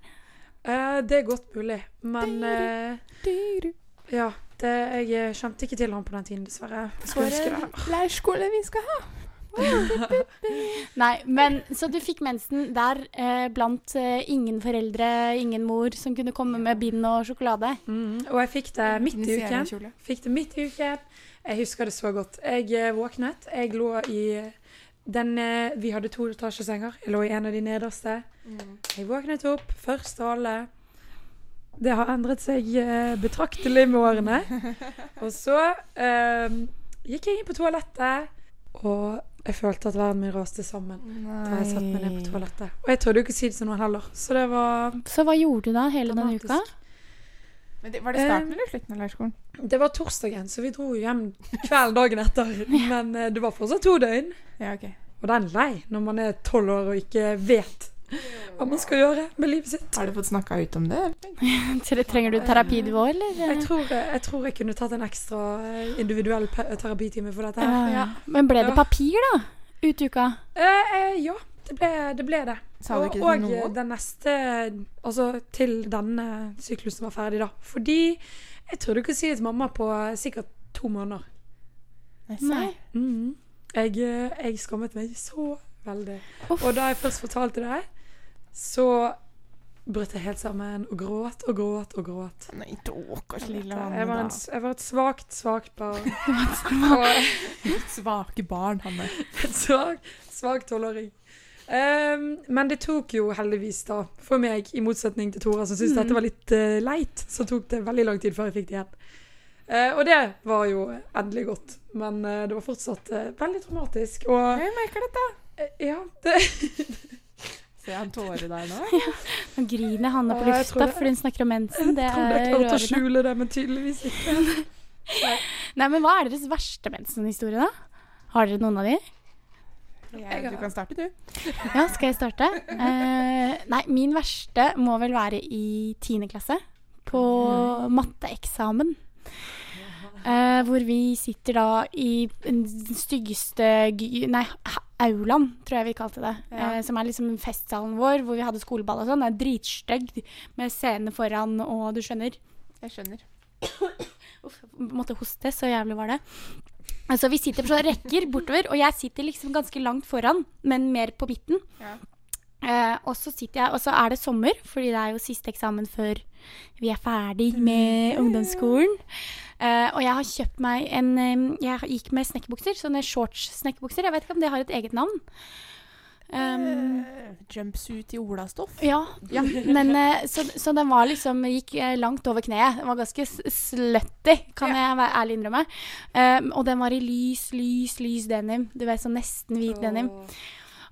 S4: Eh, det er godt mulig, men eh, Ja. Det, jeg eh, kjente ikke til han på den tiden, dessverre. Jeg skulle huske det.
S2: leirskole vi skal ha.
S3: Nei, men så du fikk mensen der eh, blant eh, ingen foreldre, ingen mor, som kunne komme med bind og sjokolade?
S4: Mm, og jeg fikk det midt i uken. Fikk det midt i uken. Jeg husker det så godt. Jeg eh, våknet. Jeg lå i den eh, Vi hadde to etasjesenger. Jeg lå i en av de nederste.
S3: Mm.
S4: Jeg våknet opp, først av alle. Det har endret seg eh, betraktelig med årene. Og så eh, gikk jeg inn på toalettet, og jeg følte at verden min raste sammen. Da jeg satte meg ned på toalettet. Og jeg trodde jo ikke å si det til noen heller, så det var
S3: Så hva gjorde du da hele den
S4: Dramatisk.
S3: uka?
S2: Men det, var det starten eller slutten av leirskolen?
S4: Det var torsdagen, så vi dro jo hjem kvelden dagen etter. Men eh, det var fortsatt to døgn.
S2: Ja, ok.
S4: Og den er lei når man er tolv år og ikke vet hva man skal gjøre med livet sitt.
S2: Har du fått snakka ut om det?
S3: Tre- Trenger du terapi du òg,
S4: Jeg
S3: eller?
S4: tror, eh, jeg tror jeg kunne tatt en ekstra eh, individuell pe- terapitime for dette her.
S3: Ah, Ja, ja.
S2: Ah, Ja.
S3: Men ble det
S4: Ja.
S3: papir, da? Ut uka?
S4: Eh, eh, ja, det ble det. Ble det.
S2: Sa du ikke til
S4: og og, eh,
S2: noen?
S4: den neste Altså til denne syklusen var ferdig, da. Fordi jeg trodde ikke å si det til mamma på eh, sikkert to måneder.
S3: Nei.
S4: Mhm. Jeg, eh, jeg skammet meg så veldig.
S3: Uff.
S4: Og da jeg først fortalte det, så brøt jeg helt sammen og gråt og gråt og gråt.
S2: Nei, stakkars lille
S4: Jeg var, en,
S2: Hanne.
S4: s- jeg var et svakt, svakt barn.
S2: Svake barn, Hanne.
S4: Et svak, svak tolvåring. Ehm, men det tok jo heldigvis, da, for meg, i motsetning til Tora, som syntes
S2: Mm.
S4: dette var litt eh, leit, så tok det veldig lang tid før jeg fikk det igjen. Eh, og det var jo endelig godt. Men eh, det var fortsatt eh, veldig traumatisk. Og
S2: Jeg merker dette.
S4: eh, ja, det
S2: Ser jeg en tåre der nå?
S3: Nå griner Hanne på
S4: Ja, jeg tror
S3: lufta
S4: det.
S3: fordi hun snakker om mensen. Det
S4: Trodde jeg
S3: er
S4: klarte å
S3: rørende.
S4: skjule det, men tydeligvis ikke.
S3: Nei, men hva er deres verste mensenhistorie, da? Har dere noen av de?
S2: Jeg, du kan starte, du.
S3: Ja, skal jeg starte? Eh, nei, min verste må vel være i 10. klasse. På matteeksamen. Eh, hvor vi sitter da i den styggeste gy- Nei, ha- aulaen, tror jeg vi kalte det.
S2: Ja.
S3: Eh, som er liksom festsalen vår, hvor vi hadde skoleball og sånn. Det er dritstygg med scene foran og du skjønner.
S2: Jeg skjønner.
S3: Uff, måtte hoste, så jævlig var det. Altså, vi sitter på sånne rekker bortover, og jeg sitter liksom ganske langt foran, men mer på midten.
S2: Ja.
S3: Eh, og så sitter jeg, og så er det sommer, fordi det er jo siste eksamen før vi er ferdig med ungdomsskolen. Eh, og jeg har kjøpt meg en eh, Jeg gikk med snekkerbukser, sånne shorts-snekkerbukser. Jeg vet ikke om det har et eget navn. Um,
S2: Jumpsuit i olastoff.
S3: ja, men eh, så, så den var liksom gikk eh, langt over kneet. Den var ganske s- slutty, kan jeg være ærlig innrømme. Um, og den var i lys, lys, lys denim. Du vet, sånn nesten hvit denim.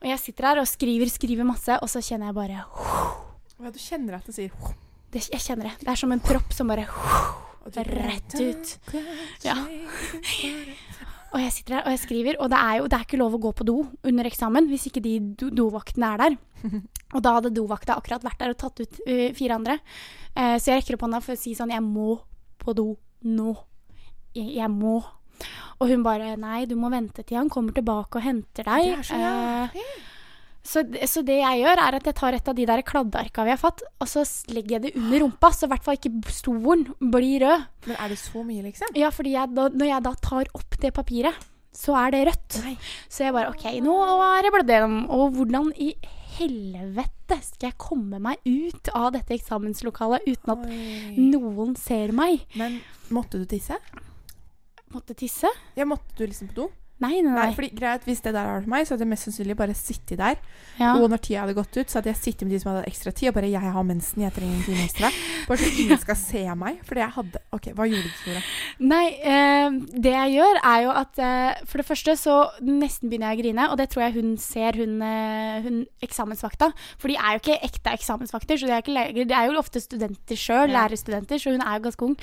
S3: Og jeg sitter her og skriver, skriver masse, og så kjenner jeg bare
S2: Ja, du kjenner at det sier
S3: det, Jeg kjenner det. Det er som en propp som bare
S2: og du-
S3: rett ut. Ja. Og jeg sitter her og jeg skriver, og det er jo det er ikke lov å gå på do under eksamen hvis ikke de do dovaktene er der. Og da hadde dovakta akkurat vært der og tatt ut ø, fire andre. Eh, så jeg rekker opp hånda for å si sånn Jeg må på do nå. Jeg, jeg må. Og hun bare Nei, du må vente til han kommer tilbake og henter deg.
S2: Det er så jævlig.
S3: Eh, så, d- så det jeg gjør, er at jeg tar et av de der kladdearka vi har fått, og så s- legger jeg det under rumpa, så i hvert fall ikke b- stolen blir rød.
S2: Men er det så mye, liksom?
S3: Ja, fordi jeg, da, når jeg da tar opp det papiret, så er det rødt.
S2: Nei.
S3: Så jeg bare OK, nå er jeg blødd gjennom. Og hvordan i helvete skal jeg komme meg ut av dette eksamenslokalet uten at
S2: Oi.
S3: noen ser meg?
S2: Men måtte du tisse?
S3: Måtte tisse.
S2: Ja, måtte du liksom på do?
S3: Nei, nei,
S2: Nei,
S3: nei.
S2: fordi greit, Hvis det der hadde vært meg, så hadde jeg mest sannsynlig bare sittet der.
S3: Ja.
S2: Og når tida hadde gått ut, så hadde jeg sittet med de som hadde ekstra tid, og bare 'Jeg har mensen, jeg trenger en time ekstra'. Bare så ingen skal se meg. Fordi jeg hadde OK, hva gjorde du, Nora?
S3: Nei, eh, det jeg gjør er jo at eh, for det første så nesten begynner jeg å grine, og det tror jeg hun ser, hun, eh, hun eksamensvakta. For de er jo ikke ekte eksamensvakter, så de er, ikke leger, de er jo ofte studenter sjøl,
S2: Ja.
S3: lærerstudenter, så hun er jo ganske ung.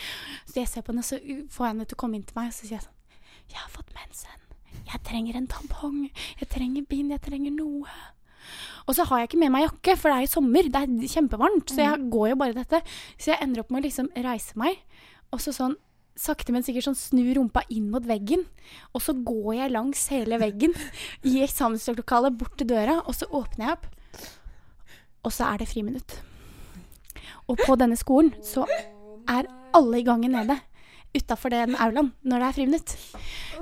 S3: Så jeg ser på henne, og så uh, får jeg henne til å komme inn til meg, og så sier jeg sånn Jeg har fått mensen. Jeg trenger en tampong. Jeg trenger bind. Jeg trenger noe. Og så har jeg ikke med meg jakke, for det er jo sommer. Det er kjempevarmt. Så jeg går jo bare i dette. Så jeg ender opp med å liksom reise meg, og så sånn sakte, men sikkert sånn snu rumpa inn mot veggen. Og så går jeg langs hele veggen i eksamenslokalet bort til døra, og så åpner jeg opp. Og så er det friminutt. Og på denne skolen så er alle i gangen nede. Utafor den aulaen når det er friminutt.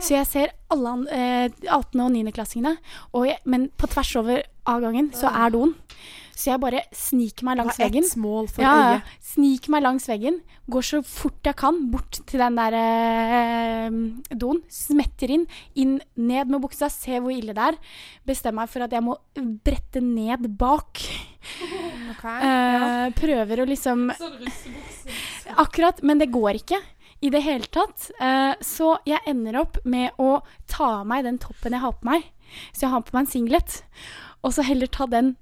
S3: Så jeg ser alle an- eh, 18- og 9.-klassingene, og jeg- men på tvers over av gangen så er doen. Så jeg bare sniker meg langs
S2: Det var
S3: veggen.
S2: ett smål for
S3: Ja, ja.
S2: øyet.
S3: Sniker meg langs veggen, går så fort jeg kan bort til den der eh, doen, smetter inn, inn, ned med buksa, ser hvor ille det er. Bestemmer meg for at jeg må brette ned bak.
S2: Ok.
S3: Eh, prøver å liksom Akkurat, men det går ikke i det hele tatt. Eh, så jeg ender opp med å ta av meg den toppen jeg har på meg. Så jeg har på meg en singlet, og så heller ta den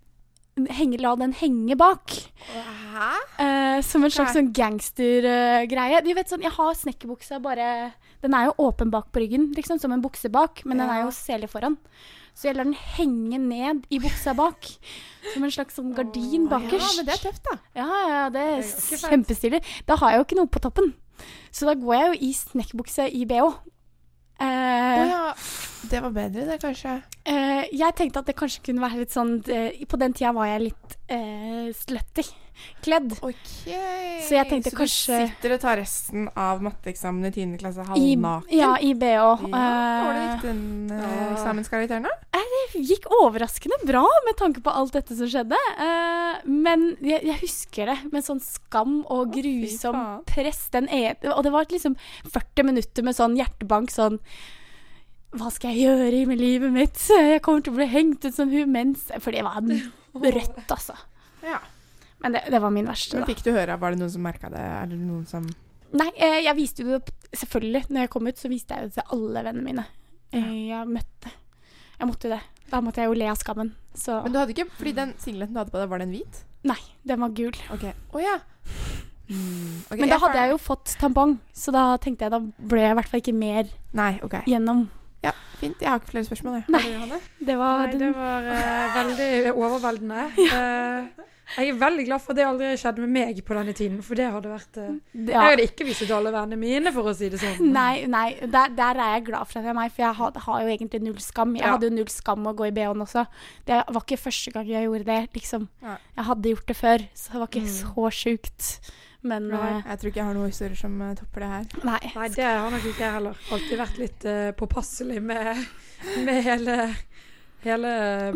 S3: henge, La den henge bak.
S2: Hæ?
S3: Eh, som en slags
S2: Nei.
S3: sånn gangstergreie. Du vet sånn, Jeg har snekkerbuksa bare Den er jo åpen bak på ryggen, liksom, som en bukse bak, men den er
S2: Ja.
S3: jo sele foran. Så jeg lar den henge ned i buksa bak. Som en slags sånn gardin
S2: Ja,
S3: bakerst.
S2: men det er tøft, da.
S3: Ja, ja, ja, det er
S4: ganske fett.
S3: kjempestilig. Da har jeg jo ikke noe på toppen. Så da går jeg jo i snekkbukse i bh.
S2: Å
S3: Eh,
S2: ja. Det var bedre, det, kanskje.
S3: eh, jeg tenkte at det kanskje kunne være litt sånn eh, På den tida var jeg litt eh, slutty kledd.
S2: OK.
S3: Så jeg tenkte
S2: du
S3: kanskje-
S2: sitter og tar resten av matteeksamen i 10. klasse
S3: I,
S2: halvnaken?
S3: ja, i bh.
S2: Ja, hvordan
S3: Eh,
S2: gikk den eh,
S4: Ja.
S2: eksamenskarakteren, da?
S3: gikk overraskende bra med tanke på alt dette som skjedde. Eh, men jeg, jeg husker det med sånn skam og grusom
S2: faen.
S3: press. Den e og det var liksom 40 minutter med sånn hjertebank sånn Hva skal jeg gjøre med livet mitt? Jeg kommer til å bli hengt ut som hun mens For det var rødt, altså.
S2: Ja.
S3: Men det, det var min verste,
S2: Men
S3: da.
S2: fikk du høre, Var det noen som merka det? Er det noen som
S3: Nei, eh, jeg viste jo det opp- Selvfølgelig, når jeg kom ut, så viste jeg det til alle vennene mine. Eh, jeg møtte Jeg måtte jo det. Da måtte jeg jo le av skammen. Så
S2: Men du hadde ikke Fordi den singleten du hadde på deg, var den hvit?
S3: Nei, den var gul.
S2: OK. Å ja. Mm, ok,
S3: Men da
S2: jeg
S3: hadde
S2: får-
S3: jeg jo fått tampong, så da tenkte jeg da ble jeg i hvert fall ikke mer
S2: Nei, OK.
S3: gjennom.
S2: Fint. Jeg har ikke flere spørsmål, jeg.
S3: Nei.
S2: Har du, Johanne?
S3: Det var
S4: Nei, det
S3: den
S4: var eh, veldig overveldende. Eh, jeg er veldig glad for at det aldri skjedde med meg på denne tiden, for det hadde vært eh,
S3: ja.
S4: Jeg hadde ikke vist det til alle vennene mine, for å si det sånn.
S3: Nei, nei der, der er jeg glad for at jeg er meg, for jeg har, har jo egentlig null skam. Jeg
S4: Ja.
S3: hadde jo null skam å gå i BH-en også. Det var ikke første gang jeg gjorde det, liksom.
S2: Nei.
S3: Jeg hadde gjort det før, så det var ikke
S4: Mm.
S3: så sjukt. Men
S2: Nei.
S3: eh,
S2: Jeg tror ikke jeg har noen historier som eh, topper det her.
S3: nei.
S4: Nei, det har nok ikke jeg heller. Alltid vært litt eh, påpasselig med, med hele, hele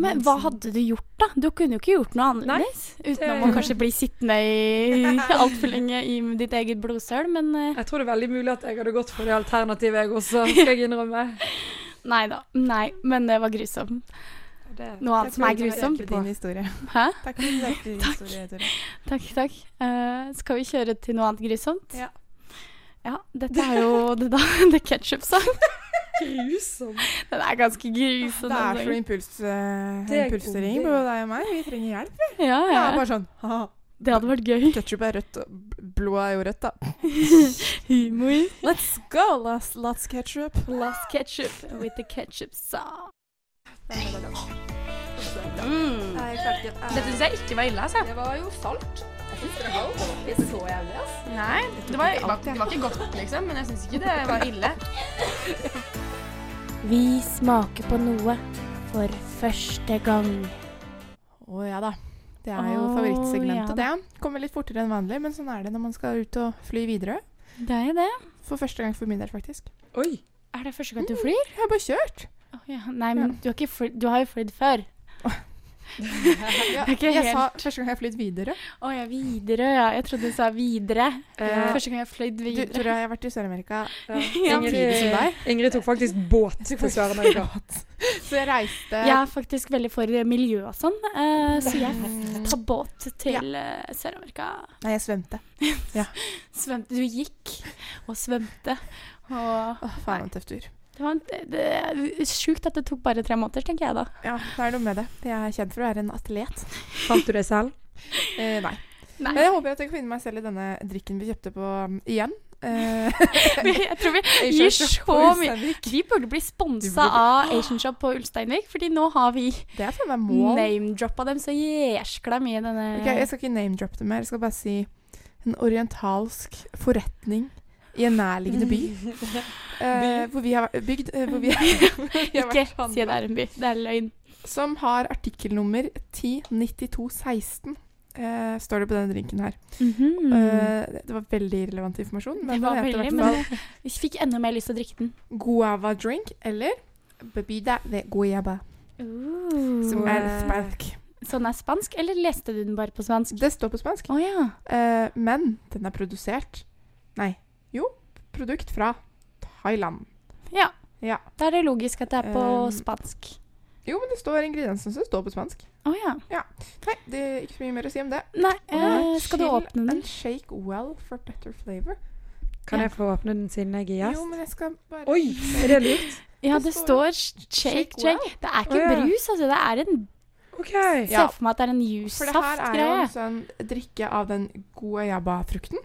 S3: Men hva hadde du gjort, da? Du kunne jo ikke gjort noe
S4: Nei,
S3: annerledes. Utenom å kanskje bli sittende i altfor lenge i ditt eget blodsøl, men eh,
S4: Jeg tror det er veldig mulig at jeg hadde gått for det alternativet, jeg også, skal jeg innrømme.
S3: Nei da. Nei, men det var grusomt.
S4: Det-
S3: Noe annet som er grusomt.
S2: Takk for din historie.
S3: Hæ?
S2: Takk for din din historie, Tore.
S3: Takk, takk. Eh, skal vi kjøre til noe annet grusomt?
S2: Ja.
S3: Ja, dette er jo det da, The Ketchup Song.
S4: Grusomt.
S3: Den er ganske grusom.
S2: Det
S3: den
S2: er så
S3: sangen.
S2: impuls,
S4: Det er
S2: uh, impulsstyring på
S4: god idé.
S2: deg og meg. Vi trenger hjelp.
S3: Ja,
S2: Ja,
S3: ja.
S2: bare sånn haha,
S3: Det hadde vært gøy.
S2: Ketchup er rødt, og blod er jo rødt, da.
S3: Humor.
S2: Let's go, let's, let's ketchup.
S3: Last ketchup with the ketchup song. Mm.
S5: Det syns jeg ikke var ille. Altså.
S2: Det var jo salt.
S5: Nei, det var, det var- det var ikke godt, liksom, men jeg syns ikke det var ille.
S3: Vi smaker på noe for første gang.
S2: Å ja da. Det er jo
S3: Å,
S2: favorittsegmentet,
S3: ja
S2: det. Kommer litt fortere enn vanlig, men sånn er det når man skal ut og fly videre.
S3: Det er det.
S2: For første gang for min del, faktisk.
S4: Oi.
S3: Er det første gang du flyr?
S2: Jeg har bare kjørt.
S3: Å, ja. Nei, men du har, ikke fly du har jo flydd før.
S2: Ja,
S3: Det er ikke
S2: jeg sa
S3: helt-
S2: første gang jeg fløy videre.
S3: Å ja, Widerøe, ja. Jeg trodde du sa videre.
S4: Ja.
S3: Første gang jeg fløy
S2: Eh, Du,
S3: videre.
S2: Tora, jeg har vært i Sør-Amerika.
S3: Ja.
S2: Samtidig som
S4: Ingrid,
S2: deg.
S4: Ingrid tok faktisk båt til Sør-Amerika.
S2: Så jeg reiste
S3: Jeg er faktisk veldig for miljø og sånn, eh, så jeg tar båt til eh, Sør-Amerika.
S2: Nei, jeg svømte.
S3: Svømte, du gikk og svømte. Og
S2: Åh, faen, en tøff tur.
S3: det var en, det, det, sjukt at det tok bare tre måneder, tenker jeg da.
S2: Ja, det er noe med det. Jeg er kjent for å være en atlet.
S4: Fant du det selv?
S2: Eh, nei.
S3: Nei.
S2: Men jeg håper at jeg kan finne meg selv i denne drikken vi kjøpte på um, igjen. Eh,
S3: Jeg tror vi
S2: Asian
S3: gir
S2: Shop
S3: så
S2: på
S3: mye.
S2: Ulsteinvik.
S3: Vi burde bli
S2: Du
S3: sponsa
S2: burde-
S3: av Asian Shop på Ulsteinvik, fordi nå har vi
S2: Det er faen meg mål.
S3: name-droppa dem så jæskla mye i denne
S2: Ok, jeg skal ikke name-droppe det mer. Jeg skal bare si en orientalsk forretning i en nærliggende by. eh, hvor vi har vært- bygd eh, hvor vi, hvor vi
S3: Ikke
S2: har vært handlet.
S3: si det er en by. Det er løgn.
S2: Som har artikkelnummer 109216. Eh, står det på denne drinken her.
S3: Mhm.
S2: Eh, det var veldig relevant informasjon.
S3: Mm.
S2: Men
S3: Det
S2: den
S3: var
S2: heter i
S3: veldig,
S2: hvert
S3: men-
S2: fall
S3: Vi fikk enda mer lyst til å drikke den.
S2: guava drink eller bebida de guayaba. Som er spansk.
S3: Sånn er spansk, eller leste du den bare på spansk?
S2: Det står på spansk.
S3: Å ja.
S2: Eh, men den er produsert Nei, jo, produkt fra Thailand.
S3: ja.
S2: Ja.
S3: Da er det logisk at det er på
S2: Um,
S3: spansk.
S2: Jo, men det står ingrediensene som står på spansk.
S3: Å ja.
S2: Nei, det er ikke så mye mer å si om det.
S3: Nei, eh, skal du
S2: Chill
S3: åpne den?
S2: And shake well for better flavor.
S4: Kan jeg få åpne den siden jeg
S2: Jo,
S4: er gjest?
S2: men jeg skal bare
S4: Oi, er det lurt?
S3: Ja,
S2: det
S3: det står
S2: står
S3: shake,
S2: shake
S3: shake. Det er ikke
S4: Å ja.
S3: brus, altså. Det er en
S4: OK.
S3: Se
S2: Ja.
S3: for meg at det er en
S2: For det her er jo
S3: juicesaftgreie.
S2: en sånn drikke av den guayaba-frukten.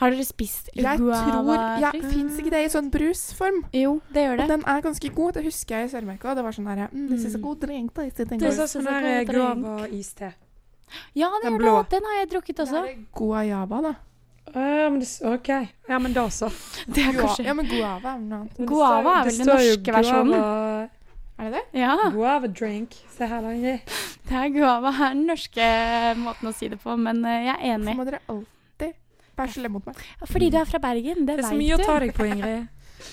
S3: Har dere spist
S2: Jeg tror ja,
S3: guava-frukt?
S2: Fins ikke det i sånn brusform?
S3: Jo, det gjør
S2: Og
S3: det.
S2: den er ganske god. Det husker jeg i Sør-Amerika. Det var sånn her mm, This is a
S3: Mm.
S2: good drink. da, Det
S4: Det er
S2: er
S4: sånn som der eh, Grova-iste.
S3: Ja, det
S4: Den
S3: gjør det.
S4: blå.
S3: Den har jeg drukket også.
S2: guayaba, da.
S4: Ja, men det, s- OK. Ja, men da så.
S3: Det er
S2: Gua-
S3: kanskje
S2: Ja, men guava er noe annet.
S4: Men det
S3: Guava
S4: står-
S3: er
S4: det
S3: vel den
S4: står jo
S3: norske versjonen.
S4: guava-
S2: Er det det?
S3: Ja,
S4: Ah. Guava drink. Se her, da, Ingrid.
S3: det er guava er den norske eh, måten å si det på, men eh, jeg er
S2: Så
S3: enig.
S2: må dere alltid være slemme mot meg.
S3: Fordi du er fra Bergen, det
S4: Det er så mye
S3: vet
S4: å
S3: du.
S4: ta deg på, Ingrid.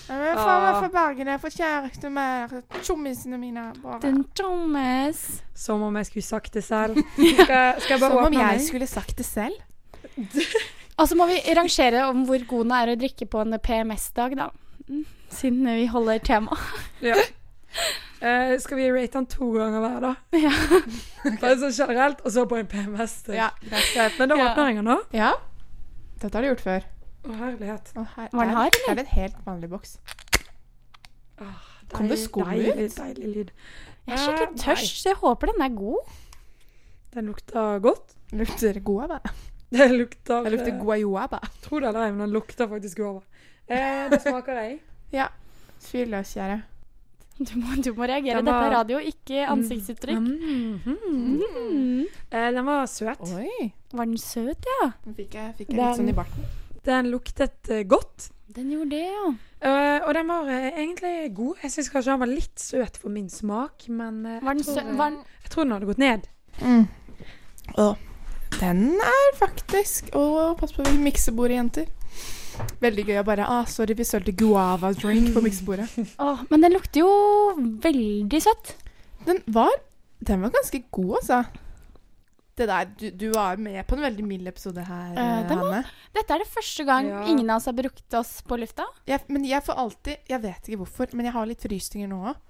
S2: Ja, men faen
S4: Ah.
S2: meg for Bergen. Jeg får kjæreste med tjommisene mine. Bare.
S3: Den Thomas.
S4: Som om jeg skulle sagt det selv. Skal, skal jeg bare
S2: Som om
S4: åpne
S2: jeg
S4: den?
S2: skulle sagt det selv.
S3: Og så må vi rangere om hvor god den er å drikke på en PMS-dag, da. Mm, Siden vi holder tema.
S4: Ja. Eh, skal vi rate den to ganger hver, da?
S3: Ja.
S4: Bare sånn generelt, og så på en PMS. -dag. Greit, Men da
S3: Ja.
S4: åpner jeg den nå.
S2: Ja. Dette har du gjort før.
S4: Å, herlighet.
S2: Å, her,
S3: Var den hard,
S2: eller? Er det en helt vanlig boks? Kom det skum
S4: deilig,
S2: ut?
S4: deilig lyd.
S3: Jeg er skikkelig tørst, så jeg håper den er god.
S4: Den lukter godt.
S2: Lukter guava.
S4: Det lukter
S2: Det lukter guayaba.
S4: Tro det eller ei, men den lukter faktisk guava. Eh, det smaker jeg.
S2: Tvil løs, kjære.
S3: Du må, du må reagere.
S4: Den
S3: Dette
S4: var- Mm.
S3: er radio, ikke ansiktsuttrykk.
S4: Mhm.
S3: Mm.
S4: Eh, den var søt.
S2: Oi.
S3: Var den søt, ja?
S2: Nå fikk jeg, fikk jeg litt
S4: Den-
S2: sånn i barten.
S4: Den luktet eh, godt.
S3: Den gjorde det, ja.
S4: Eh, og den var eh, egentlig god. Jeg syns kanskje den var litt søt for min smak, men eh,
S3: Var den
S4: jeg, tror,
S3: sø var den
S4: jeg tror den hadde gått ned.
S2: Å, Den er faktisk Å, pass på miksebordet, jenter. Veldig gøy å bare ah, Sorry, vi sølte guava drink på miksebordet.
S3: Åh, men den lukter jo veldig søtt.
S2: Den var, den var ganske god, altså. Det der, du, du var med på en veldig mild episode her,
S3: Eh, den var-
S2: Hanne.
S3: Dette er det første gang
S4: Ja.
S3: ingen av oss har brukt oss på lufta.
S2: Jeg, men jeg får alltid Jeg vet ikke hvorfor, men jeg har litt frysninger nå òg.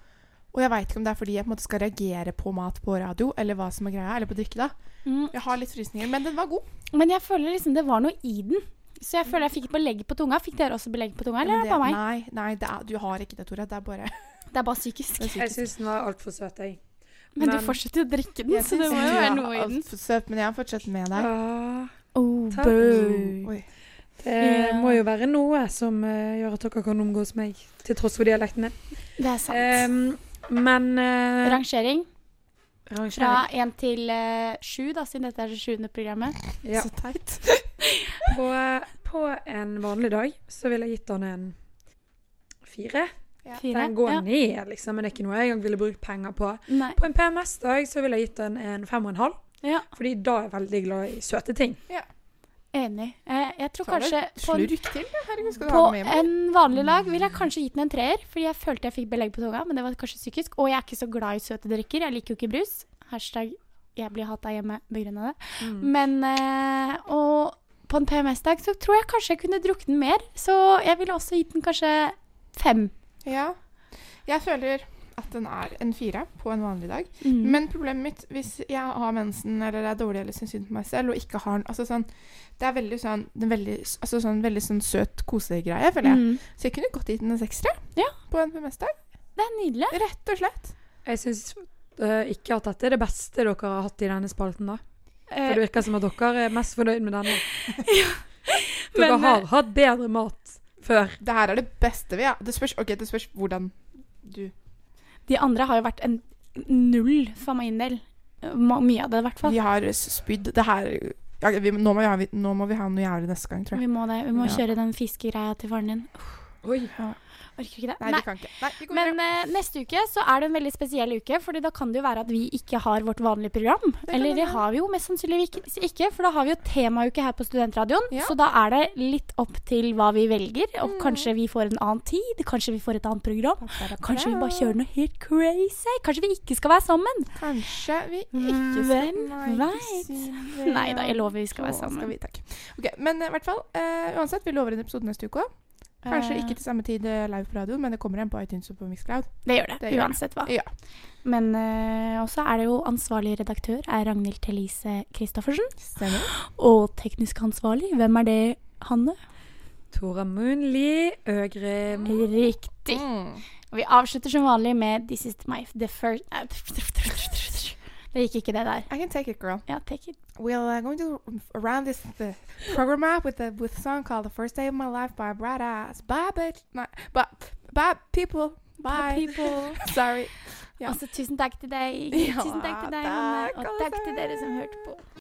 S2: Og jeg veit ikke om det er fordi jeg på en måte skal reagere på mat på radio, eller hva som er greia, eller på drikke, da.
S3: Mm.
S2: Jeg har litt frysninger, men den var god.
S3: Men jeg føler liksom det var noe i den. Så jeg føler jeg fikk belegg på tunga. Fikk dere også belegg på tunga, eller
S2: Men
S3: er det bare meg?
S2: nei, nei det er, du har ikke det, Tora. Det er bare
S3: Det er bare psykisk.
S4: Jeg syns den var altfor søt, jeg.
S3: Men du
S4: Men-
S3: fortsetter jo å drikke den,
S2: Jeg
S3: så det
S2: synes
S3: må jo
S2: du
S3: være
S2: er
S3: noe i den.
S2: altfor søt, men jeg har fortsatt med deg.
S4: Ah,
S3: Oh,
S4: Takk.
S3: boo.
S2: Oi.
S4: det
S3: Ja.
S4: må jo være noe som eh, gjør at dere kan omgås meg, til tross for dialekten min.
S3: Det er sant.
S4: Um, men eh,
S3: Rangering fra
S4: rangering.
S3: én til eh, sju, da, siden dette er det sjuende programmet.
S4: Ja.
S2: Så teit.
S4: På, eh, på en vanlig dag så ville jeg gitt den en fire.
S3: Fire.
S4: Den går
S3: Ja.
S4: ned, liksom, men det er ikke noe jeg engang ville brukt penger på.
S3: Nei.
S4: På en PMS-dag så ville jeg gitt den en fem og en halv,
S3: Ja,
S4: fordi da er jeg veldig glad i søte ting.
S3: enig. Eh, jeg tror
S2: Ta deg
S3: kanskje
S2: et
S3: på en
S2: Slurk til, ja. herregud, skal du
S3: På
S2: ha den med meg?
S3: en vanlig lag ville jeg kanskje gitt den en treer, fordi jeg følte jeg fikk belegg på tunga, men det var kanskje psykisk. Og jeg er ikke så glad i søte drikker, jeg liker jo ikke brus. Hashtag jeg blir hata hjemme begrunna det.
S4: Mm.
S3: Men eh, Og på en PMS-dag så tror jeg kanskje jeg kunne drukne den mer. Så jeg ville også gitt den kanskje fem.
S2: Ja. Jeg føler at den er en fire på en vanlig dag.
S3: Mm.
S2: Men problemet mitt, hvis jeg har mensen eller er dårlig eller syns synd på meg selv og ikke har den altså sånn, Det er veldig sånn, det er veldig, altså sånn, veldig sånn søt kosegreie, føler jeg.
S3: Mm.
S2: Så jeg kunne godt gitt den en seksere
S3: Ja.
S2: på en PMS-dag.
S3: Det er nydelig.
S2: Rett og slett.
S4: Jeg syns ikke at dette er det beste dere har hatt i denne spalten, da. For
S3: Eh,
S4: det virker som at dere er mest fornøyd med denne. Dere
S3: men, eh,
S4: har hatt bedre mat før.
S2: Det her er det beste vi har. Det spørs, ok, det spørs hvordan du
S3: De andre har jo vært en null for min del. Ma- Mye av det, i hvert fall.
S2: Vi har s- spydd. Det her ja, vi, nå, må vi ha, vi- nå må vi ha noe jævlig neste gang, tror jeg.
S3: Vi må, det. Vi må
S2: Ja.
S3: kjøre den fiskegreia til faren din.
S4: Oi.
S3: Orker ikke det.
S2: Nei, vi kan ikke. Nei, vi går
S3: Men
S2: videre.
S3: eh, neste uke så er det en veldig spesiell uke, Fordi da kan det jo være at vi ikke har vårt vanlige program. Eller det har vi jo mest sannsynlig ikke, ikke, for da har vi jo temauke her på Studentradioen.
S2: Ja. Mm.
S3: Så da er det litt opp til hva vi velger, og kanskje vi får en annen tid, kanskje vi får et annet program. Kanskje vi bare kjører noe helt crazy. Kanskje vi ikke skal være sammen.
S2: Kanskje vi ikke
S3: Hvem
S2: ikke
S3: vet?
S2: si det.
S3: Mm, Nei da, jeg lover vi skal være
S2: Å,
S3: sammen.
S2: Skal vi, takk. Ok, men eh, i hvert fall, eh, uansett, vi lover en episode neste uke også. Kanskje
S3: Eh,
S2: ikke til samme tid eh, live på radioen, men det kommer en på iTunes og på Mixcloud.
S3: Det gjør det,
S2: Det gjør det.
S3: uansett hva.
S2: Ja.
S3: Men eh, også er det jo ansvarlig redaktør er Ragnhild Thelise Christoffersen.
S2: Stemmer.
S3: Og teknisk ansvarlig, hvem er det, Hanne?
S4: Tora Moonli Øgrim.
S3: Riktig.
S2: Mm.
S3: Og vi avslutter som vanlig med This is my the first Det gikk ikke, det der.
S2: I can take it, girl.
S3: Ja, take it.
S2: We're uh, going to round this uh, program up with a with a song called "The First Day of My Life" by Bright Eyes. Bye, bitch. No, bye, bye, people. Bye. Sorry. Ja.
S3: Altså, tusen takk til deg.
S2: Ja,
S3: tusen takk til deg,
S2: takk,
S3: Hanne. Og
S2: alle
S3: takk til dere som
S2: sammen.
S3: hørte på.